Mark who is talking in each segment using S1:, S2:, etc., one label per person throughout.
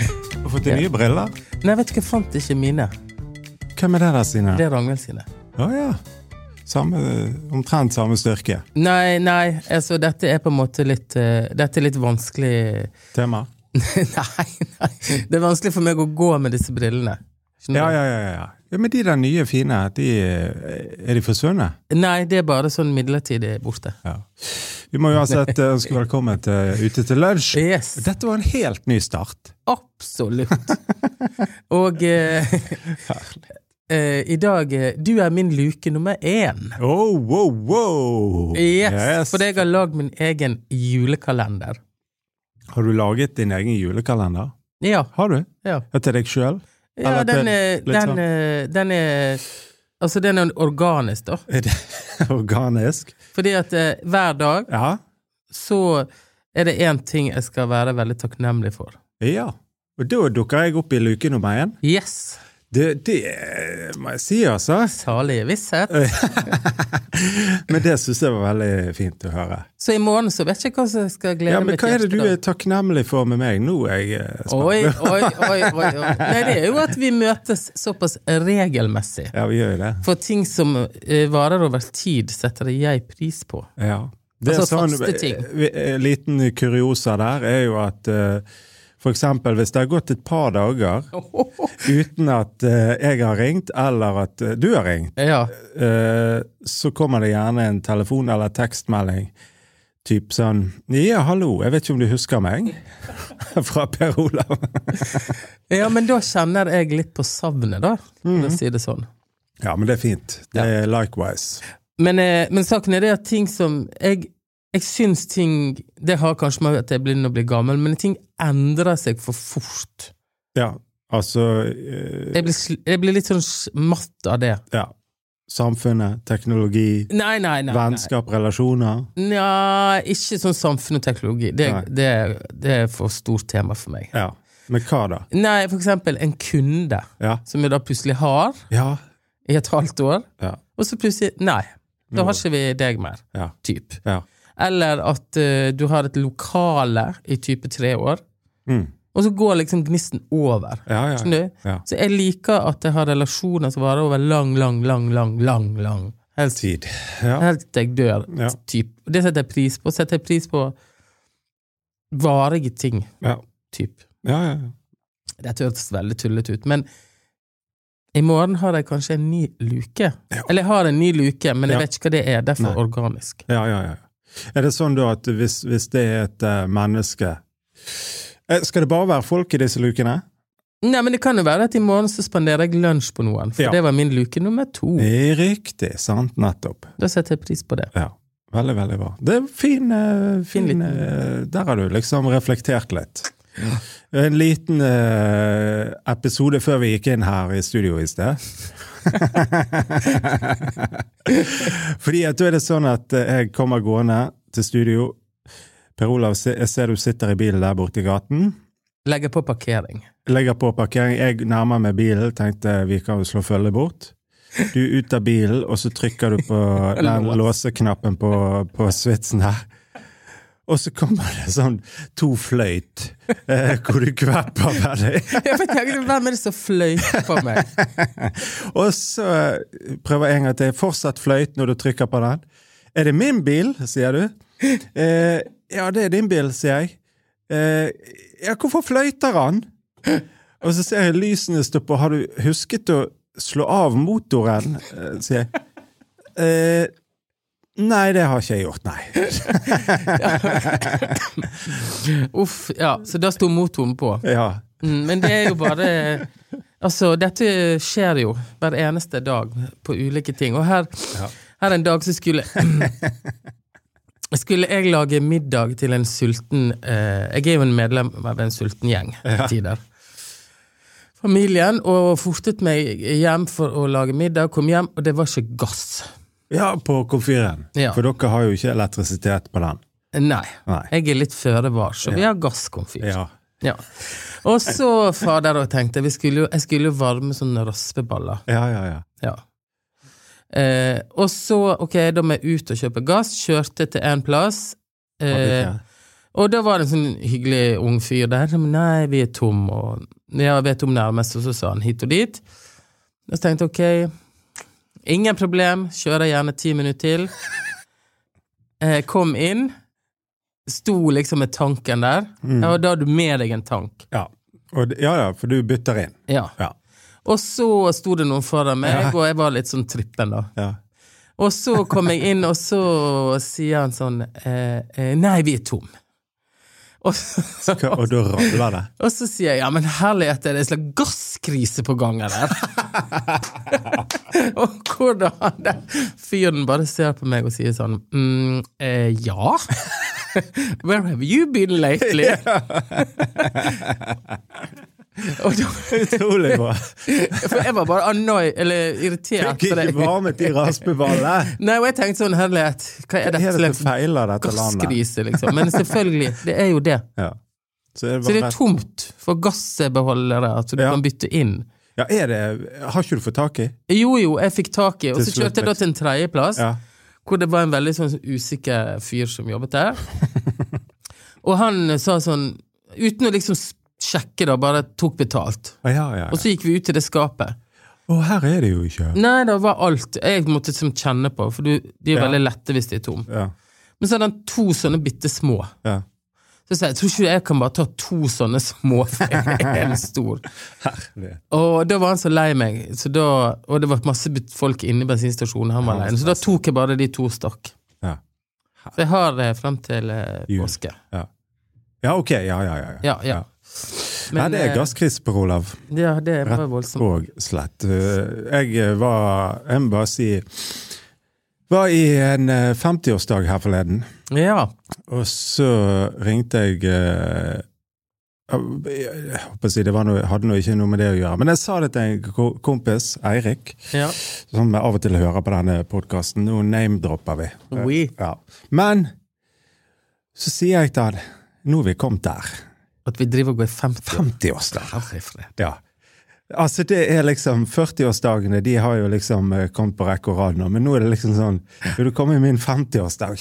S1: Kjøpte nye briller?
S2: Nei, vet du hva, jeg fant ikke mine.
S1: Hvem er det der sine?
S2: Det er Ragnhild sine.
S1: Å ja. Samme, omtrent samme styrke.
S2: Nei, nei, altså dette er på en måte litt eh, Dette er litt vanskelig
S1: Tema?
S2: Nei, nei. Det er vanskelig for meg å gå med disse brillene. Skjønner
S1: Ja,
S2: du?
S1: ja, ja. ja. ja men de der nye fine, de, eh, er de forsvunnet?
S2: Nei, det er bare sånn midlertidig borte.
S1: Ja. Vi må uansett eh, ønske velkommen til Ute til lunsj.
S2: Yes,
S1: Dette var en helt ny start.
S2: absolutt. Og eh, eh, i dag eh, Du er min luke nummer én.
S1: Oh, wow, wow!
S2: Yes, fordi jeg har lagd min egen julekalender.
S1: Har du laget din egen julekalender?
S2: Ja.
S1: Har du?
S2: ja.
S1: Ja, Til deg sjøl?
S2: ja
S1: Eller til-
S2: den, er,
S1: litt
S2: den, er, den er Altså, den er organisk, da.
S1: Er det organisk?
S2: Fordi at eh, hver dag
S1: Ja.
S2: så er det én ting jeg skal være veldig takknemlig for.
S1: ja. Og da dukker jeg opp i luke nummer én.
S2: Yes!
S1: Det, det eh, må jeg si, altså.
S2: Salige visshet.
S1: Men det syns jeg var veldig fint å høre.
S2: Så i morgen så vet jeg ikke hva som skal glede
S1: Ja, men
S2: mitt
S1: Hva er det
S2: hjerte
S1: du
S2: da.
S1: er takknemlig for med meg nå? er Jeg eh, spent.
S2: Oi, oi, oi, oi, oi. Nei, det er jo at vi møtes såpass regelmessig.
S1: Ja, vi gjør jo det.
S2: For ting som eh, varer over tid, setter jeg pris på.
S1: Ja. Det er
S2: Altså,
S1: sånn,
S2: faste ting.
S1: eh, eh, liten kuriosa der er jo at eh, for eksempel hvis det har gått et par dager uten at eh, jeg har ringt, eller at eh, du har ringt,
S2: Ja.
S1: eh, så kommer det gjerne en telefon eller tekstmelding. Typ sånn 'Ja, hallo, jeg vet ikke om du husker meg?' Fra Per Olav.
S2: ja, men da kjenner jeg litt på savnet, da, for å
S1: Mhm.
S2: si det sånn.
S1: ja, men det er fint. Det er likewise.
S2: Men, eh, men saken er det at ting som Jeg, jeg syns ting Det har kanskje med at jeg blir begynner å bli gammel, men ting endrer seg for fort.
S1: Ja, altså eh,
S2: Jeg blir, sl- jeg blir litt sånn s- matt av det.
S1: Ja. Samfunnet, teknologi,
S2: Nei, nei, nei. nei.
S1: vennskap, relasjoner.
S2: Nja, ikke sånn samfunn og teknologi. Det,
S1: Nei.
S2: det, det er for stort tema for meg.
S1: Ja. Men hva da?
S2: Nei, for eksempel en kunde
S1: Ja.
S2: som jeg da plutselig har
S1: Ja.
S2: i et halvt år,
S1: Ja.
S2: og så plutselig Nei, da har ikke vi deg mer.
S1: Ja.
S2: Typ.
S1: ja.
S2: Eller at eh, du har et lokale i type tre år,
S1: Mm.
S2: og så går liksom gnisten over.
S1: Ja, ja,
S2: Skjønner du?
S1: ja.
S2: Så jeg liker at jeg har relasjoner som varer over lang, lang, lang, lang, lang. lang. Helt,
S1: Tid. Ja.
S2: helt til jeg dør.
S1: Ja.
S2: Typ. Og Det setter jeg pris på. Setter jeg pris på varige ting.
S1: Ja.
S2: Typ.
S1: Ja, ja. ja.
S2: Dette hørtes veldig tullete ut, men i morgen har jeg kanskje en ny luke. Eller jeg har en ny luke, men jeg
S1: Ja.
S2: vet ikke hva det er. Derfor
S1: Nei.
S2: organisk.
S1: Ja, ja, ja. Er det sånn da at hvis, hvis det er et eh, menneske Eh, Skal det bare være folk i disse lukene?
S2: Nei, men det kan jo være at i morgen så spanderer jeg lunsj på noen, for
S1: Ja.
S2: det var min luke nummer to.
S1: Eh, Riktig. Sant. Nettopp.
S2: Da setter jeg pris på det.
S1: Ja. Veldig, veldig bra. Det er fin, eh, fin,
S2: liten-
S1: eh, Der har du liksom reflektert litt. En liten eh, episode før vi gikk inn her i studio i sted. Fordi at da er det sånn at eh, jeg kommer gående til studio. Per Olav, se- jeg ser du sitter i bilen der borte i gaten.
S2: Legger på parkering.
S1: legger på parkering. Jeg nærmer meg bilen, tenkte vi kan jo slå følge bort. Du er ut av bilen, og så trykker du på den låseknappen på, på switchen her. Og så kommer det sånn to fløyt, eh, hvor du kvepper med deg.
S2: Jeg vet ikke, Hvem er det som fløyter på meg?
S1: Og så eh, prøver jeg en gang til. Fortsatt fløyt når du trykker på den. Er det min bil, sier du? Eh, ja, det er din bil, sier jeg. Eh, ja, hvorfor fløyter han? Og så ser jeg lysene stå på. Har du husket å slå av motoren? Eh, sier jeg. Eh, nei, det har ikke jeg gjort, nei.
S2: Uff, ja. Så da sto motoren på.
S1: Ja,
S2: Mm, Men det er jo bare Altså, dette skjer jo hver eneste dag på ulike ting. Og her, her en dag så skulle Skulle jeg lage middag til en sulten eh, Jeg er jo en medlem av en sulten gjeng til tider. Familien, og fortet meg hjem for å lage middag. Kom hjem, og det var ikke gass.
S1: ja på komfyren.
S2: Ja.
S1: For dere har jo ikke elektrisitet på den.
S2: Nei.
S1: Nei.
S2: Jeg er litt føre var, så vi har gasskomfyr.
S1: Ja.
S2: Ja. Og så, fader, og tenkte jeg, vi skulle, jo- jeg skulle jo varme sånne raspeballer.
S1: ja, ja, ja.
S2: Ja. Eh, og så, ok, da må jeg ut og kjøpe gass. Kjørte til en plass.
S1: Har du
S2: Eh,
S1: ikke?
S2: Og da var det en sånn hyggelig ung fyr der som Nei, vi er tom, og ja, vi er tom nærmest, og så sa han hit og dit. Og så tenkte jeg ok, ingen problem, kjører gjerne ti minutter til. Eh, kom inn, sto liksom med tanken der,
S1: Mm.
S2: ja, og da har du med deg en tank.
S1: Ja. Og, det- ja ja, for du bytter inn.
S2: Ja.
S1: Ja.
S2: Og så sto det noen foran meg, og jeg var litt sånn trippen, da.
S1: ja.
S2: Og så kom jeg inn, og så sier han sånn eh, eh, Nei, vi er tom. Og så,
S1: Hva- Og da ramler det.
S2: og så sier jeg ja, men herlighet, er det en slags gasskrise på gang her? og hvordan han der fyren bare ser på meg og sier sånn mm, eh, Ja. Where have you been lately? og da,
S1: Utrolig bra.
S2: for jeg var bare annoy, eller irritert.
S1: Fikk
S2: for det-
S1: ikke varmet de raspeballene.
S2: Nei, og jeg tenkte sånn herlighet, hva er
S1: Hva
S2: dette
S1: er det
S2: slags
S1: som feiler dette landet?
S2: gasskrise, liksom? Men selvfølgelig, det er jo det.
S1: Ja. Så er det,
S2: Så det
S1: bare
S2: er
S1: rett-
S2: tomt for gassbeholdere som du
S1: Ja.
S2: kan bytte inn.
S1: ja, er det Har ikke du fått tak i?
S2: Jo, jo, jeg fikk tak i, og
S1: Til
S2: så
S1: slutt,
S2: kjørte jeg da til en tredjeplass,
S1: Ja.
S2: hvor det var en veldig sånn usikker fyr som jobbet der. og han sa sånn, uten å liksom s- sjekke da, bare tok betalt.
S1: Å, ja, ja, ja.
S2: Og så gikk vi ut til det skapet.
S1: Å, her er det jo ikke.
S2: Nei, det var alt. Jeg måtte liksom kjenne på, for du, de er
S1: Ja.
S2: veldig lette hvis de er tom.
S1: Ja,
S2: Men så hadde han to sånne bitte små.
S1: ja.
S2: Så sa jeg, jeg tror ikke jeg kan bare ta to sånne små for jeg er en stor.
S1: Herlig.
S2: Og da var han så lei meg, så da, og det var masse bet- folk inne i bensinstasjonen, han var
S1: Ja, altså.
S2: lei, så da tok jeg bare de to stokk.
S1: Ja.
S2: Så jeg har det frem til eh,
S1: Jul.
S2: påske.
S1: Ja. ja, ok. Ja, ja, ja.
S2: Ja, ja.
S1: Nei, det
S2: eh,
S1: er gasskrise på Olav.
S2: Ja, det var voldsomt.
S1: Og slett. Uh, Jeg var Jeg må bare si Var i en eh, 50-årsdag her forleden,
S2: Ja.
S1: og så ringte jeg eh, jeg håper å si, Det var noe, hadde nå ikke noe med det å gjøre, men jeg sa det til en ko- kompis, Eirik,
S2: ja.
S1: som jeg av og til hører på denne podkasten. Nå name-dropper vi.
S2: Oui.
S1: Ja. Men så sier jeg til han Nå er vi kommet der.
S2: At vi driver og går i 50 år.
S1: 50-årsdag.
S2: Herre fred.
S1: Ja. Altså, det er liksom 40-årsdagene de har jo liksom eh, kommet på rekke og rad nå, men nå er det liksom sånn Vil du komme i min 50-årsdag?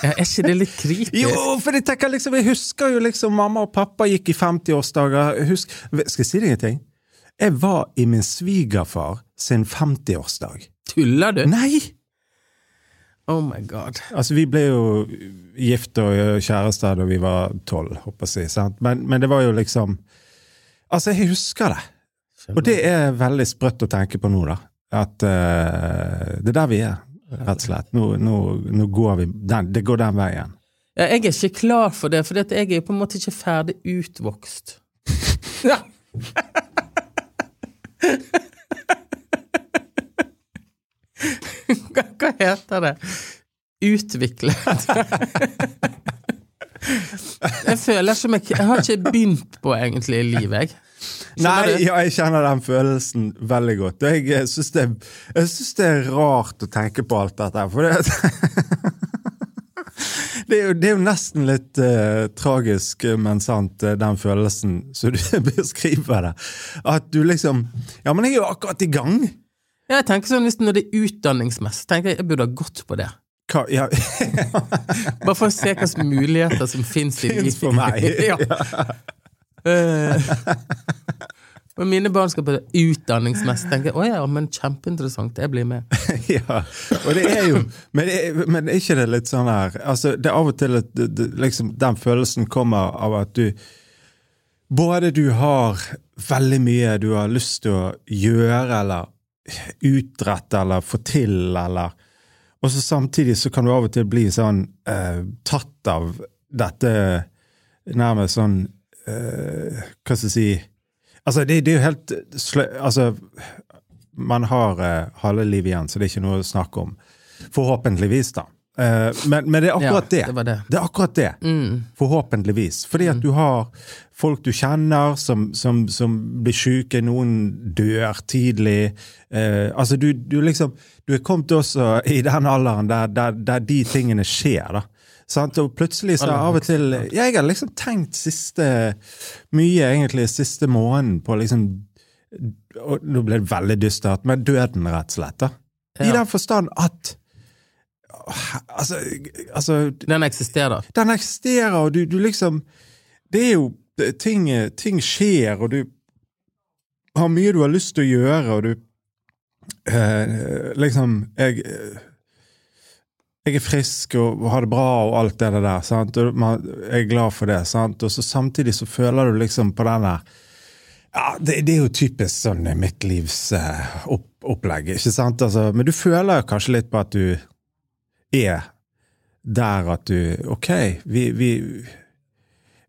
S2: Ja, er ikke det litt kritisk?
S1: Jo, for jeg tenker liksom Jeg husker jo liksom mamma og pappa gikk i 50-årsdager. Jeg husker- Skal jeg si deg en ting? Jeg var i min svigerfar sin 50-årsdag.
S2: Tuller du?
S1: Nei!
S2: Oh my god.
S1: Altså, vi ble jo gift og eh, kjærester da vi var tolv, håper jeg å si. sant? Men, men det var jo liksom Altså, jeg husker det. Og det er veldig sprøtt å tenke på nå, da. At eh, det er der vi er, rett og slett. Nå, nå, nå går vi den, Det går den veien.
S2: Ja, jeg er ikke klar for det, for jeg er jo på en måte ikke ferdig utvokst. Ja. Hva, hva heter det? Utviklet. Jeg føler som jeg, jeg har ikke begynt på egentlig livet, jeg. Skjønner
S1: Nei,
S2: du?
S1: ja, jeg kjenner den følelsen veldig godt. Og jeg, jeg syns det, jeg synes det er rart å tenke på alt dette her, for det Det er, jo, det er jo nesten litt eh, tragisk, men sant, eh, den følelsen som du beskriver det. At du liksom Ja, men jeg er jo akkurat i gang!
S2: Ja, jeg tenker sånn hvis når det er utdanningsmessig, tenker jeg jeg burde ha gått på det.
S1: Hva, ja,
S2: Bare for å se hvilke muligheter som fins i
S1: Finnes for meg.
S2: ja. Eh, Men mine barn skal på utdanningsmesse. Tenker jeg, å ja, men kjempeinteressant, jeg blir med.
S1: Ja, og det er jo Men, det er- men er ikke det litt sånn her altså, Det er av og til at det, det, liksom, den følelsen kommer av at du Både du har veldig mye du har lyst til å gjøre eller utrette eller få til, eller Og så samtidig så kan du av og til bli sånn eh, tatt av dette nærmest sånn eh, Hva skal jeg si Altså, det, det er jo helt slø... Altså, man har eh, halve livet igjen, så det er ikke noe å snakke om. Forhåpentligvis, da. Eh, men, men det er akkurat
S2: Ja,
S1: det.
S2: det var det. Mm.
S1: er akkurat det. Forhåpentligvis. Fordi at du har folk du kjenner som, som, som blir syke, noen dør tidlig. Eh, altså, du, du liksom Du er kommet også i den alderen der, der, der de tingene skjer, da. Sant? Og plutselig så av og til Jeg har liksom tenkt siste mye, egentlig, siste måneden på liksom og Nå ble det veldig dystert, men døden, rett og slett. da. I
S2: Ja.
S1: den forstand at Altså, altså
S2: Den eksisterer.
S1: den eksisterer, og du, du liksom Det er jo det- ting, ting skjer, og du har mye du har lyst til å gjøre, og du eh, Liksom Jeg eh, jeg er frisk og har det bra og alt det der, sant? og man, jeg er glad for det. sant? Og så Samtidig så føler du liksom på den der ja, det, det er jo typisk sånn eh, mitt livs eh, opp, opplegg, ikke sant? Altså, men du føler kanskje litt på at du er der at du Ok, vi Vi,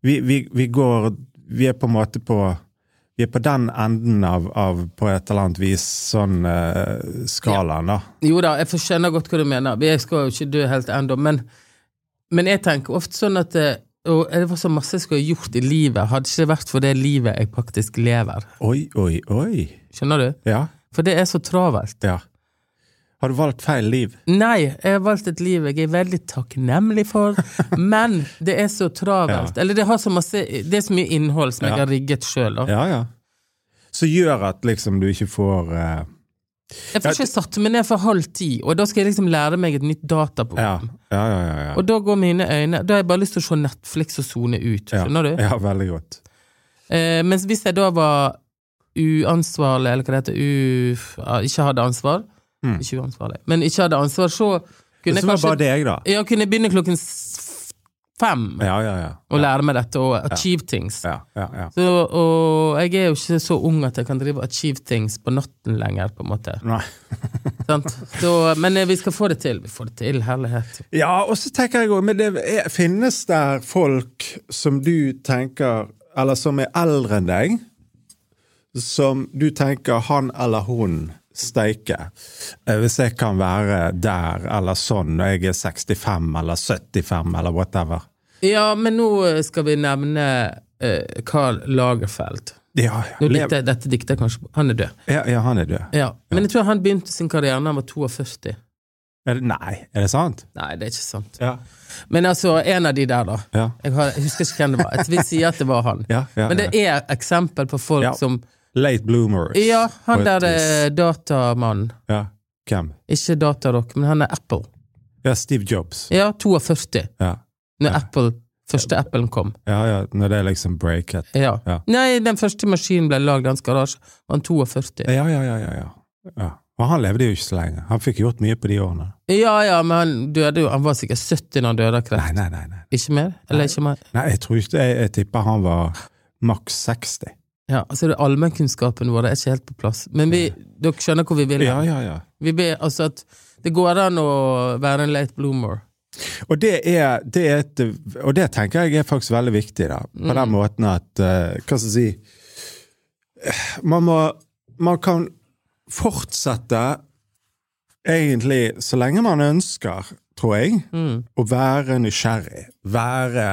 S1: vi, vi, vi går Vi er på en måte på vi er på den enden av, av på et eller annet vis sånn eh, skalaen, da.
S2: Jo da, jeg skjønner godt hva du mener. Jeg skal jo ikke dø helt ennå, men, men jeg tenker ofte sånn at eh, og Det var så masse jeg skulle ha gjort i livet. Hadde ikke det vært for det livet jeg faktisk lever.
S1: Oi, oi, oi.
S2: Skjønner du?
S1: Ja.
S2: For det er så travelt.
S1: ja. Har du valgt feil liv?
S2: Nei, jeg har valgt et liv jeg er veldig takknemlig for, men det er så travelt. Eller det har så masse Det er så mye innhold som jeg
S1: Ja.
S2: har rigget sjøl, da.
S1: Ja, ja. Som gjør at liksom du ikke får eh,
S2: Jeg får ikke satt meg ned for halv ti, og da skal jeg liksom lære meg et nytt
S1: ja.
S2: dataprogram.
S1: ja, ja, ja. ja.
S2: Og da går mine øyne Da har jeg bare lyst til å se Netflix og sone ut, skjønner du?
S1: Ja, ja veldig godt.
S2: Eh, mens hvis jeg da var uansvarlig, eller hva det heter, u... ja, ikke hadde ansvar
S1: Mm.
S2: Ikke uansvarlig, men ikke hadde ansvar, så kunne
S1: Så
S2: jeg
S1: det var
S2: kanskje
S1: bare deg, da.
S2: Ja, kunne jeg begynne klokken s- fem
S1: Ja, ja, ja.
S2: og lære meg dette og achieve things.
S1: Ja, ja, ja.
S2: Så, og jeg er jo ikke så ung at jeg kan drive og achieve things på natten lenger, på en måte.
S1: Nei.
S2: Sant? Så, men eh, vi skal få det til. Vi får det til, herlighet.
S1: Ja, og så tenker jeg også, men det er, Finnes der folk som du tenker Eller som er eldre enn deg, som du tenker han eller hun steike? Eh, Hvis jeg kan være der eller sånn når jeg er 65 eller 75 eller whatever.
S2: Ja, men nå eh, skal vi nevne eh, Karl Lagerfeld.
S1: Ja,
S2: Nå
S1: lev-
S2: dikter, jeg- dette dikter jeg kanskje på. Han er død.
S1: ja, ja han er død.
S2: Ja, Men jeg tror han begynte sin karriere da han var 42.
S1: Er det, nei, er det sant?
S2: Nei, det er ikke sant.
S1: Ja.
S2: Men altså, en av de der, da.
S1: Ja,
S2: Jeg, har, jeg husker ikke hvem det var. Jeg vil si at det var han.
S1: ja, ja,
S2: Men det
S1: ja.
S2: er eksempel på folk
S1: Ja.
S2: som
S1: Late bloomers.
S2: Ja, han
S1: På et
S2: der
S1: vis.
S2: eh, datamannen.
S1: Ja, Hvem?
S2: Ikke Datarock, men han er Apple.
S1: Ja, Steve Jobs.
S2: Ja, 42.
S1: Ja,
S2: Når Apple, første Apple kom.
S1: ja, ja når det er liksom breaket.
S2: Ja.
S1: Ja.
S2: Nei, den første maskinen ble lagd i hans garasje. Var han 42?
S1: Ja, ja, ja, ja, ja. ja. Og han levde jo ikke så lenge. Han fikk gjort mye på de årene.
S2: Ja ja, men han døde jo Han var sikkert 70 når han døde av kreft.
S1: Nei, nei, nei. Nei,
S2: Ikke mer? Eller ikke mer?
S1: nei jeg tror ikke det. Jeg, jeg tipper han var maks 60.
S2: Ja, altså det er Allmennkunnskapen vår det er ikke helt på plass. Men vi, dere skjønner hvor vi vil.
S1: Ja, ja, ja.
S2: Vi ber, altså at det går an å være en late bloomer.
S1: Og det, er, det er et, og det tenker jeg er faktisk veldig viktig, da. På den måten at eh, Hva skal jeg si eh, Man må Man kan fortsette egentlig så lenge man ønsker, tror jeg, å være nysgjerrig. Være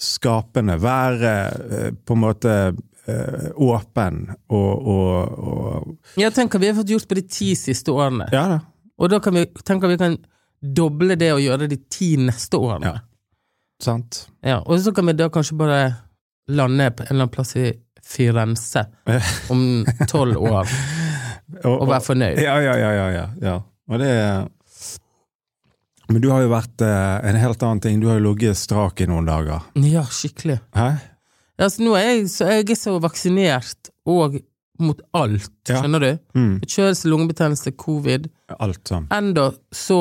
S1: skapende. Være eh, på en måte eh, åpen og, og, og
S2: Jeg tenker vi har fått gjort på de ti siste årene.
S1: Ja da.
S2: Og da kan vi, tenker vi kan doble det og gjøre det de ti neste årene.
S1: Ja. Sant?
S2: Ja. og så kan vi da kanskje bare lande på en eller annen plass i Firenze om tolv år og være fornøyd.
S1: Ja, ja, ja, ja, ja. ja. Og det er- Men du har jo vært eh, en helt annen ting. Du har jo ligget strak i noen dager.
S2: Ja, skikkelig.
S1: Hæ?
S2: Altså, nå er jeg, så jeg er så vaksinert og mot alt,
S1: Ja.
S2: skjønner du?
S1: Mm.
S2: Kjølelse, lungebetennelse, covid.
S1: Alt sånn.
S2: Enda så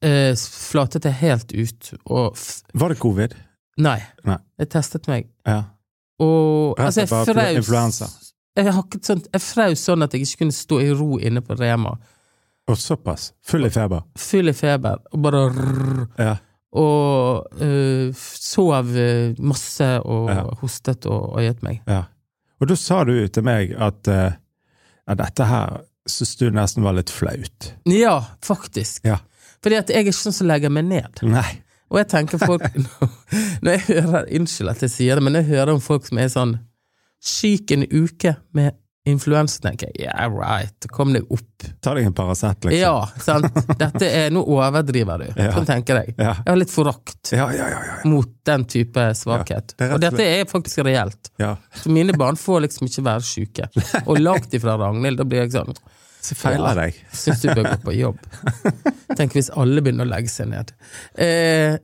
S2: eh, flatet jeg helt ut og f
S1: Var det covid?
S2: Nei.
S1: Nei.
S2: Jeg testet meg.
S1: Ja.
S2: Og
S1: Rett
S2: altså, jeg
S1: og slett bare
S2: fraus
S1: influensa.
S2: Jeg, hakket sånn- jeg fraus sånn at jeg ikke kunne stå i ro inne på Rema.
S1: Og såpass. Full i feber.
S2: Full i feber, og bare rrr,
S1: Ja.
S2: Og eh, sov eh, masse og
S1: Ja.
S2: hostet og øyet meg.
S1: ja. Og da sa du til meg at eh, ja, dette her syns du nesten var litt flaut.
S2: Ja, faktisk.
S1: Ja.
S2: Fordi at jeg er ikke sånn som legger meg ned.
S1: Nei.
S2: Og jeg tenker folk Når jeg hører Unnskyld at jeg sier det, men jeg hører om folk som er sånn syk en uke med influensa, tenker jeg yeah right, kom deg opp.
S1: Ta deg en Paracet, liksom.
S2: Ja, sant. Dette er Nå overdriver du.
S1: Ja.
S2: Sånn tenker jeg.
S1: Ja.
S2: Jeg har litt forakt
S1: Ja, ja, ja. ja.
S2: mot den type svakhet.
S1: Ja, det er rett og
S2: og dette er faktisk reelt.
S1: ja.
S2: Så mine barn får liksom ikke være syke. Og langt ifra Ragnhild. Da blir jeg sånn
S1: Så feiler jeg deg.
S2: Syns du bør gå på jobb. Tenk hvis alle begynner å legge seg ned. Eh,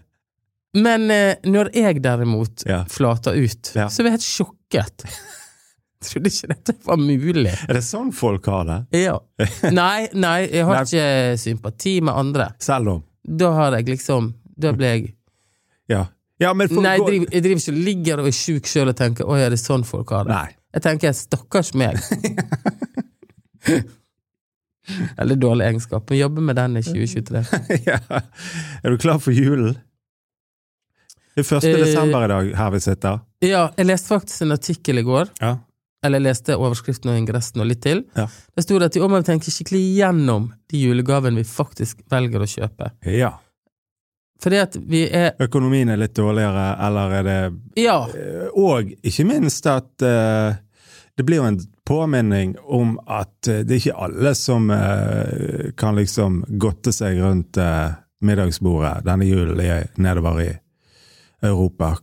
S2: men eh, når jeg derimot
S1: Ja.
S2: flater ut,
S1: Ja.
S2: så er jeg helt sjokket. Trodde ikke dette var mulig.
S1: Er det sånn folk har det?
S2: Ja. Nei, nei, jeg har
S1: Nei.
S2: ikke sympati med andre.
S1: Selv om
S2: Da har jeg liksom Da ble jeg
S1: Ja. ja men for,
S2: Nei, jeg driver, jeg driver ikke og ligger og er sjuk sjøl og tenker 'Å, er det sånn folk har det?'
S1: Nei.
S2: Jeg tenker 'stakkars meg'. Veldig dårlig egenskap. Må jobbe med den i 2023.
S1: ja. Er du klar for julen? Det er 1.
S2: Eh,
S1: desember i dag her vi sitter.
S2: Ja, jeg leste faktisk en artikkel i går.
S1: Ja.
S2: Eller jeg leste overskriften og ingressen og litt til.
S1: Ja.
S2: Der sto det at i år må vi tenke skikkelig igjennom de julegavene vi faktisk velger å kjøpe. Fordi at vi er
S1: Økonomien er litt dårligere, eller er det
S2: Ja,
S1: Eh, Og ikke minst at eh, det blir jo en påminning om at eh, det er ikke alle som eh, kan liksom godte seg rundt eh, middagsbordet denne julen i- nedover i Europa.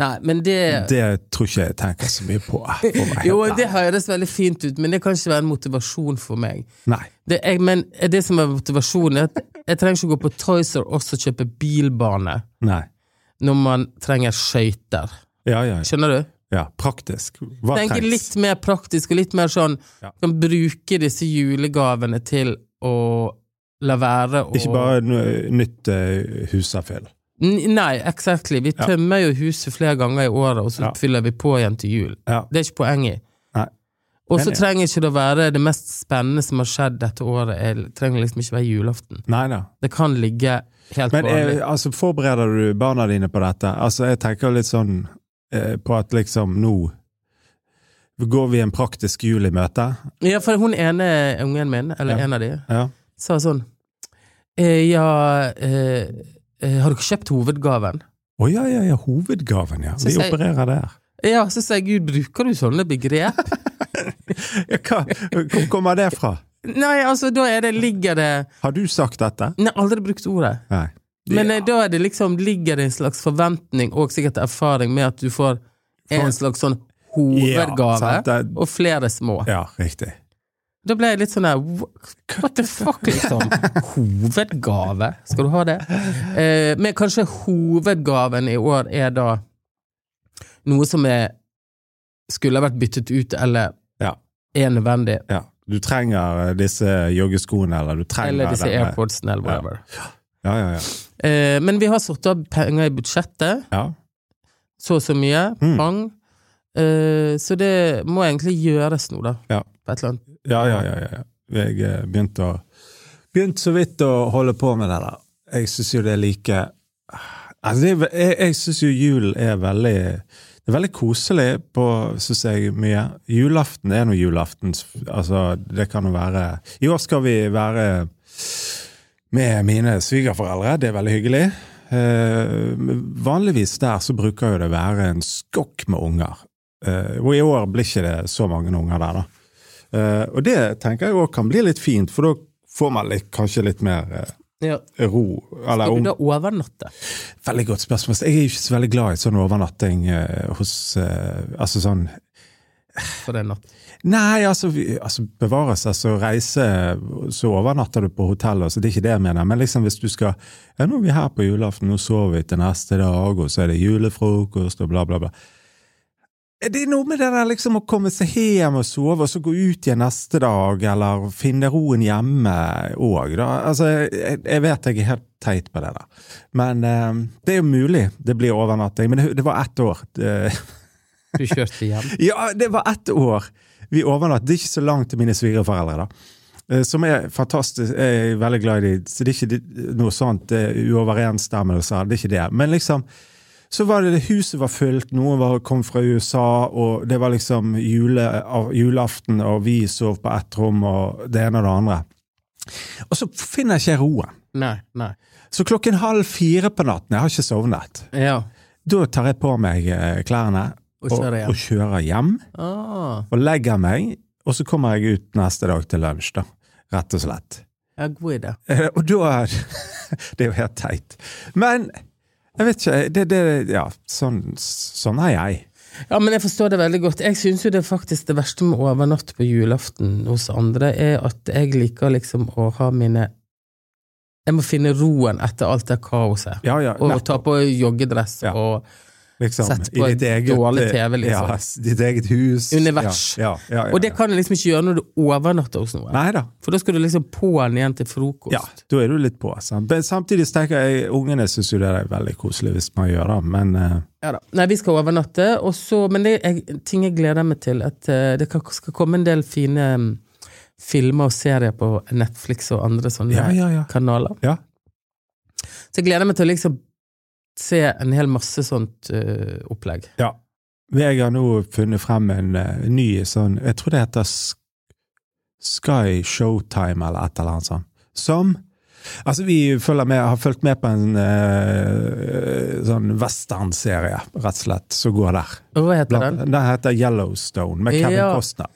S2: nei, men det
S1: Det tror ikke jeg tenker så mye på. for å være helt
S2: Jo,
S1: ærlig.
S2: det høres veldig fint ut, men det kan ikke være en motivasjon for meg.
S1: Nei.
S2: Det, jeg, men det som er motivasjonen, er at jeg trenger ikke å gå på Toys R Us og kjøpe bilbane
S1: Nei.
S2: når man trenger skøyter.
S1: Ja, ja, ja.
S2: Skjønner du?
S1: ja. Praktisk. Hva
S2: Tenke
S1: trengs?
S2: litt mer praktisk og litt mer sånn
S1: Ja.
S2: Kan bruke disse julegavene til å la være å
S1: Ikke bare n- nytt uh, husafyll.
S2: N- Nei, exactly. Vi
S1: Ja.
S2: tømmer jo huset flere ganger i året, og så
S1: Ja.
S2: fyller vi på igjen til jul.
S1: Ja.
S2: Det er ikke poenget i.
S1: Nei.
S2: Og så
S1: Enig.
S2: trenger ikke det å være det mest spennende som har skjedd dette året. Det trenger liksom ikke være julaften.
S1: Nei da.
S2: Det kan ligge helt
S1: Men
S2: vanlig.
S1: er, altså, forbereder du barna dine på dette? Altså, jeg tenker litt sånn eh, på at liksom nå går vi en praktisk jul i møte.
S2: Ja, for hun ene ungen min, eller
S1: Ja.
S2: en av de,
S1: Ja.
S2: sa sånn eh, Ja, eh, eh, har dere kjøpt hovedgaven?
S1: Å ja, ja, ja, hovedgaven, ja. Vi
S2: Synes jeg-
S1: opererer der.
S2: Ja, så sa jeg gud, bruker du sånne begrep?
S1: Ja, hva, hvor kommer det fra?
S2: Nei, altså, da er det ligger det
S1: Har du sagt dette?
S2: Nei, aldri brukt ordet.
S1: Nei.
S2: Men
S1: Ja.
S2: eh, da er det liksom, ligger det en slags forventning og sikkert erfaring med at du får en slags sånn
S1: Ja,
S2: hovedgave
S1: sant, det-
S2: og flere små.
S1: Ja, riktig.
S2: Da ble jeg litt sånn der wh- What the fuck, liksom? Hovedgave? Skal du ha det? Eh, men kanskje hovedgaven i år er da noe som er skulle ha vært byttet ut, eller
S1: Ja.
S2: er nødvendig.
S1: ja. Du trenger eh, disse joggeskoene, eller du trenger
S2: Eller disse
S1: denne-
S2: airpodsene, eller whatever.
S1: Ja, ja, ja.
S2: Eh, men vi har satt av penger i budsjettet.
S1: ja.
S2: så og så mye,
S1: Mm.
S2: pang. Eh, så det må egentlig gjøres nå, da.
S1: Ja.
S2: På et eller annet.
S1: Ja, ja, ja. ja. Jeg eh, begynte å Begynte så vidt å holde på med det der. Jeg syns jo det er like altså det er, ve- Jeg, jeg syns jo julen er veldig Det er veldig koselig på synes jeg, mye. Julaften er nå julaften. Altså, det kan jo være I år skal vi være med mine svigerforeldre. Det er veldig hyggelig. Eh, vanligvis der så bruker jo det være en skokk med unger. Eh, og i år blir ikke det så mange unger der, da. Eh, og det tenker jeg også kan bli litt fint, for da får man litt, kanskje litt mer eh,
S2: Ja.
S1: ro. Eller
S2: Skal du
S1: om,
S2: da overnatte?
S1: veldig godt spørsmål. Jeg er jo ikke så veldig glad i sånn overnatting eh, hos eh, Altså sånn
S2: For en natt.
S1: Nei, altså, vi, altså bevare seg, så reise, så overnatter du på hotellet. Så det er ikke det jeg mener. Men liksom hvis du skal ja, Nå er vi her på julaften, nå sover vi til neste dag, og så er det julefrokost og bla, bla, bla. Det er noe med det der liksom å komme seg hjem og sove, og så gå ut igjen neste dag, eller finne roen hjemme òg, da. Altså, jeg, jeg vet jeg er helt teit på det der. Men eh, det er jo mulig det blir overnatting. Men det, det var ett år. Det,
S2: Du kjørte hjem.
S1: ja, det var ett år vi overnatt. Det er ikke så langt til mine svigerforeldre, da. Eh, Som er fantastisk. Jeg er veldig glad i dem. Så det er ikke det- noe sånt eh, uoverensstemmelse. Det er ikke det. Men liksom så var det, det huset var fullt, noen var, kom fra USA, og det var liksom jule, av- julaften, og vi sov på ett rom, og det ene og det andre. Og så finner jeg ikke roen.
S2: Nei, nei.
S1: Så klokken halv fire på natten, jeg har ikke sovnet,
S2: Ja.
S1: da tar jeg på meg eh, klærne
S2: Og kjører hjem.
S1: og kjører hjem
S2: Ah,
S1: og legger meg, og så kommer jeg ut neste dag til lunsj, da. Rett og slett.
S2: ja, god idé.
S1: Eh, Og da Det er jo helt teit. Men jeg vet ikke det, det, Ja, sånn, sånn er jeg.
S2: Ja, men jeg forstår det veldig godt. Jeg syns jo det er faktisk det verste med å overnatte på julaften hos andre, er at jeg liker liksom å ha mine Jeg må finne roen etter alt det kaoset.
S1: Ja, ja,
S2: Og
S1: nettopp,
S2: ta på joggedress
S1: Ja.
S2: og
S1: liksom,
S2: sett på
S1: i ditt
S2: en
S1: eget,
S2: dårlig
S1: eh,
S2: TV, liksom.
S1: Ja, s- ditt eget hus.
S2: Univers.
S1: Ja, ja, ja, ja,
S2: Og det kan du liksom ikke gjøre når du overnatter hos noen.
S1: Nei da.
S2: For da skal du liksom på'n igjen til frokost.
S1: Ja, da er du litt på. Sant? Men samtidig så tenker jeg ungene syns jo det er veldig koselig hvis man gjør det, men eh,
S2: Ja da. Nei, vi skal overnatte, og så, men det er ting jeg gleder meg til. At eh, det kan, skal komme en del fine mm, filmer og serier på Netflix og andre sånne
S1: Ja, ja, ja.
S2: kanaler.
S1: Ja.
S2: Så jeg gleder meg til å liksom se en hel masse sånt eh, opplegg.
S1: ja. Jeg har nå funnet frem en eh, ny sånn Jeg tror det heter S- Sky Showtime eller et eller annet sånt. Som Altså, vi følger med, har fulgt med på en eh, sånn westernserie, rett og slett, som går der.
S2: Og Hva heter
S1: Blant,
S2: den?
S1: den heter Yellowstone, med Kevin
S2: Ja.
S1: Costner.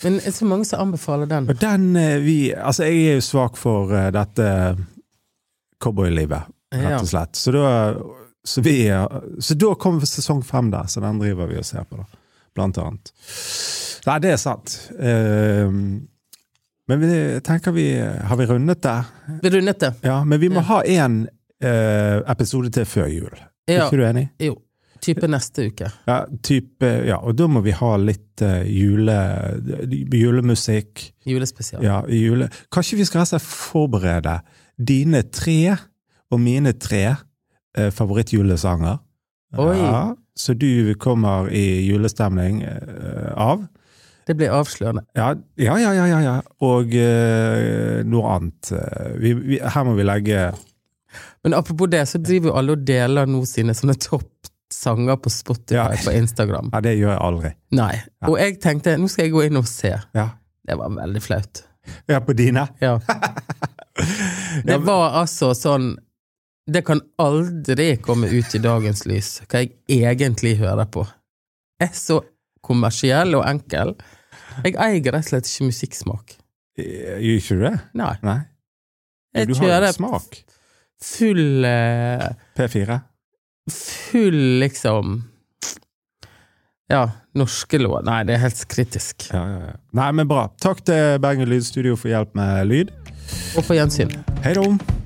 S2: Men det er så mange som anbefaler den.
S1: Og den eh, vi Altså, jeg er jo svak for eh, dette cowboylivet, rett
S2: Ja.
S1: og slett. Så da, så vi, eh, så da kommer sesong fem der, så den driver vi og ser på, da. Blant annet. Nei, det er sant. Eh, men vi tenker vi Har vi rundet det?
S2: Vi rundet det.
S1: Ja, men vi må
S2: Ja.
S1: ha én eh, episode til før jul. Er
S2: Ja,
S1: ikke du enig?
S2: jo. Type neste uke.
S1: Ja, type, ja, og da må vi ha litt eh, jule, julemusikk.
S2: Julespesial.
S1: Ja, i jule. Kanskje vi skal altså forberede dine tre og mine tre eh, favorittjulesanger.
S2: Oi.
S1: Ja, så du kommer i julestemning eh, av.
S2: Det blir avslørende.
S1: Ja, ja, ja, ja. ja, ja. Og eh, noe annet. Eh, Vi, vi, her må vi legge
S2: Men apropos det, så driver jo alle og deler nå sine sånne toppsanger på Spotify
S1: Ja.
S2: på Instagram.
S1: Ja, det gjør jeg aldri.
S2: Nei. Og jeg tenkte, nå skal jeg gå inn og se.
S1: Ja,
S2: Det var veldig flaut.
S1: ja på dine?
S2: Ja. Det var altså sånn Det kan aldri komme ut i dagens lys hva jeg egentlig hører på. Jeg er så kommersiell og enkel. Jeg eier rett og slett ikke musikksmak.
S1: Eh, Gjør ikke du det?
S2: Nei.
S1: Nei.
S2: Jeg
S1: du har jo
S2: kjører
S1: smak.
S2: full eh,
S1: P4.
S2: full liksom Ja, norske låt. Nei, det er helt kritisk.
S1: Ja, ja, ja. Nei, men bra. Takk til Bergen Lydstudio for hjelp med lyd.
S2: Og på gjensyn.
S1: Hei da.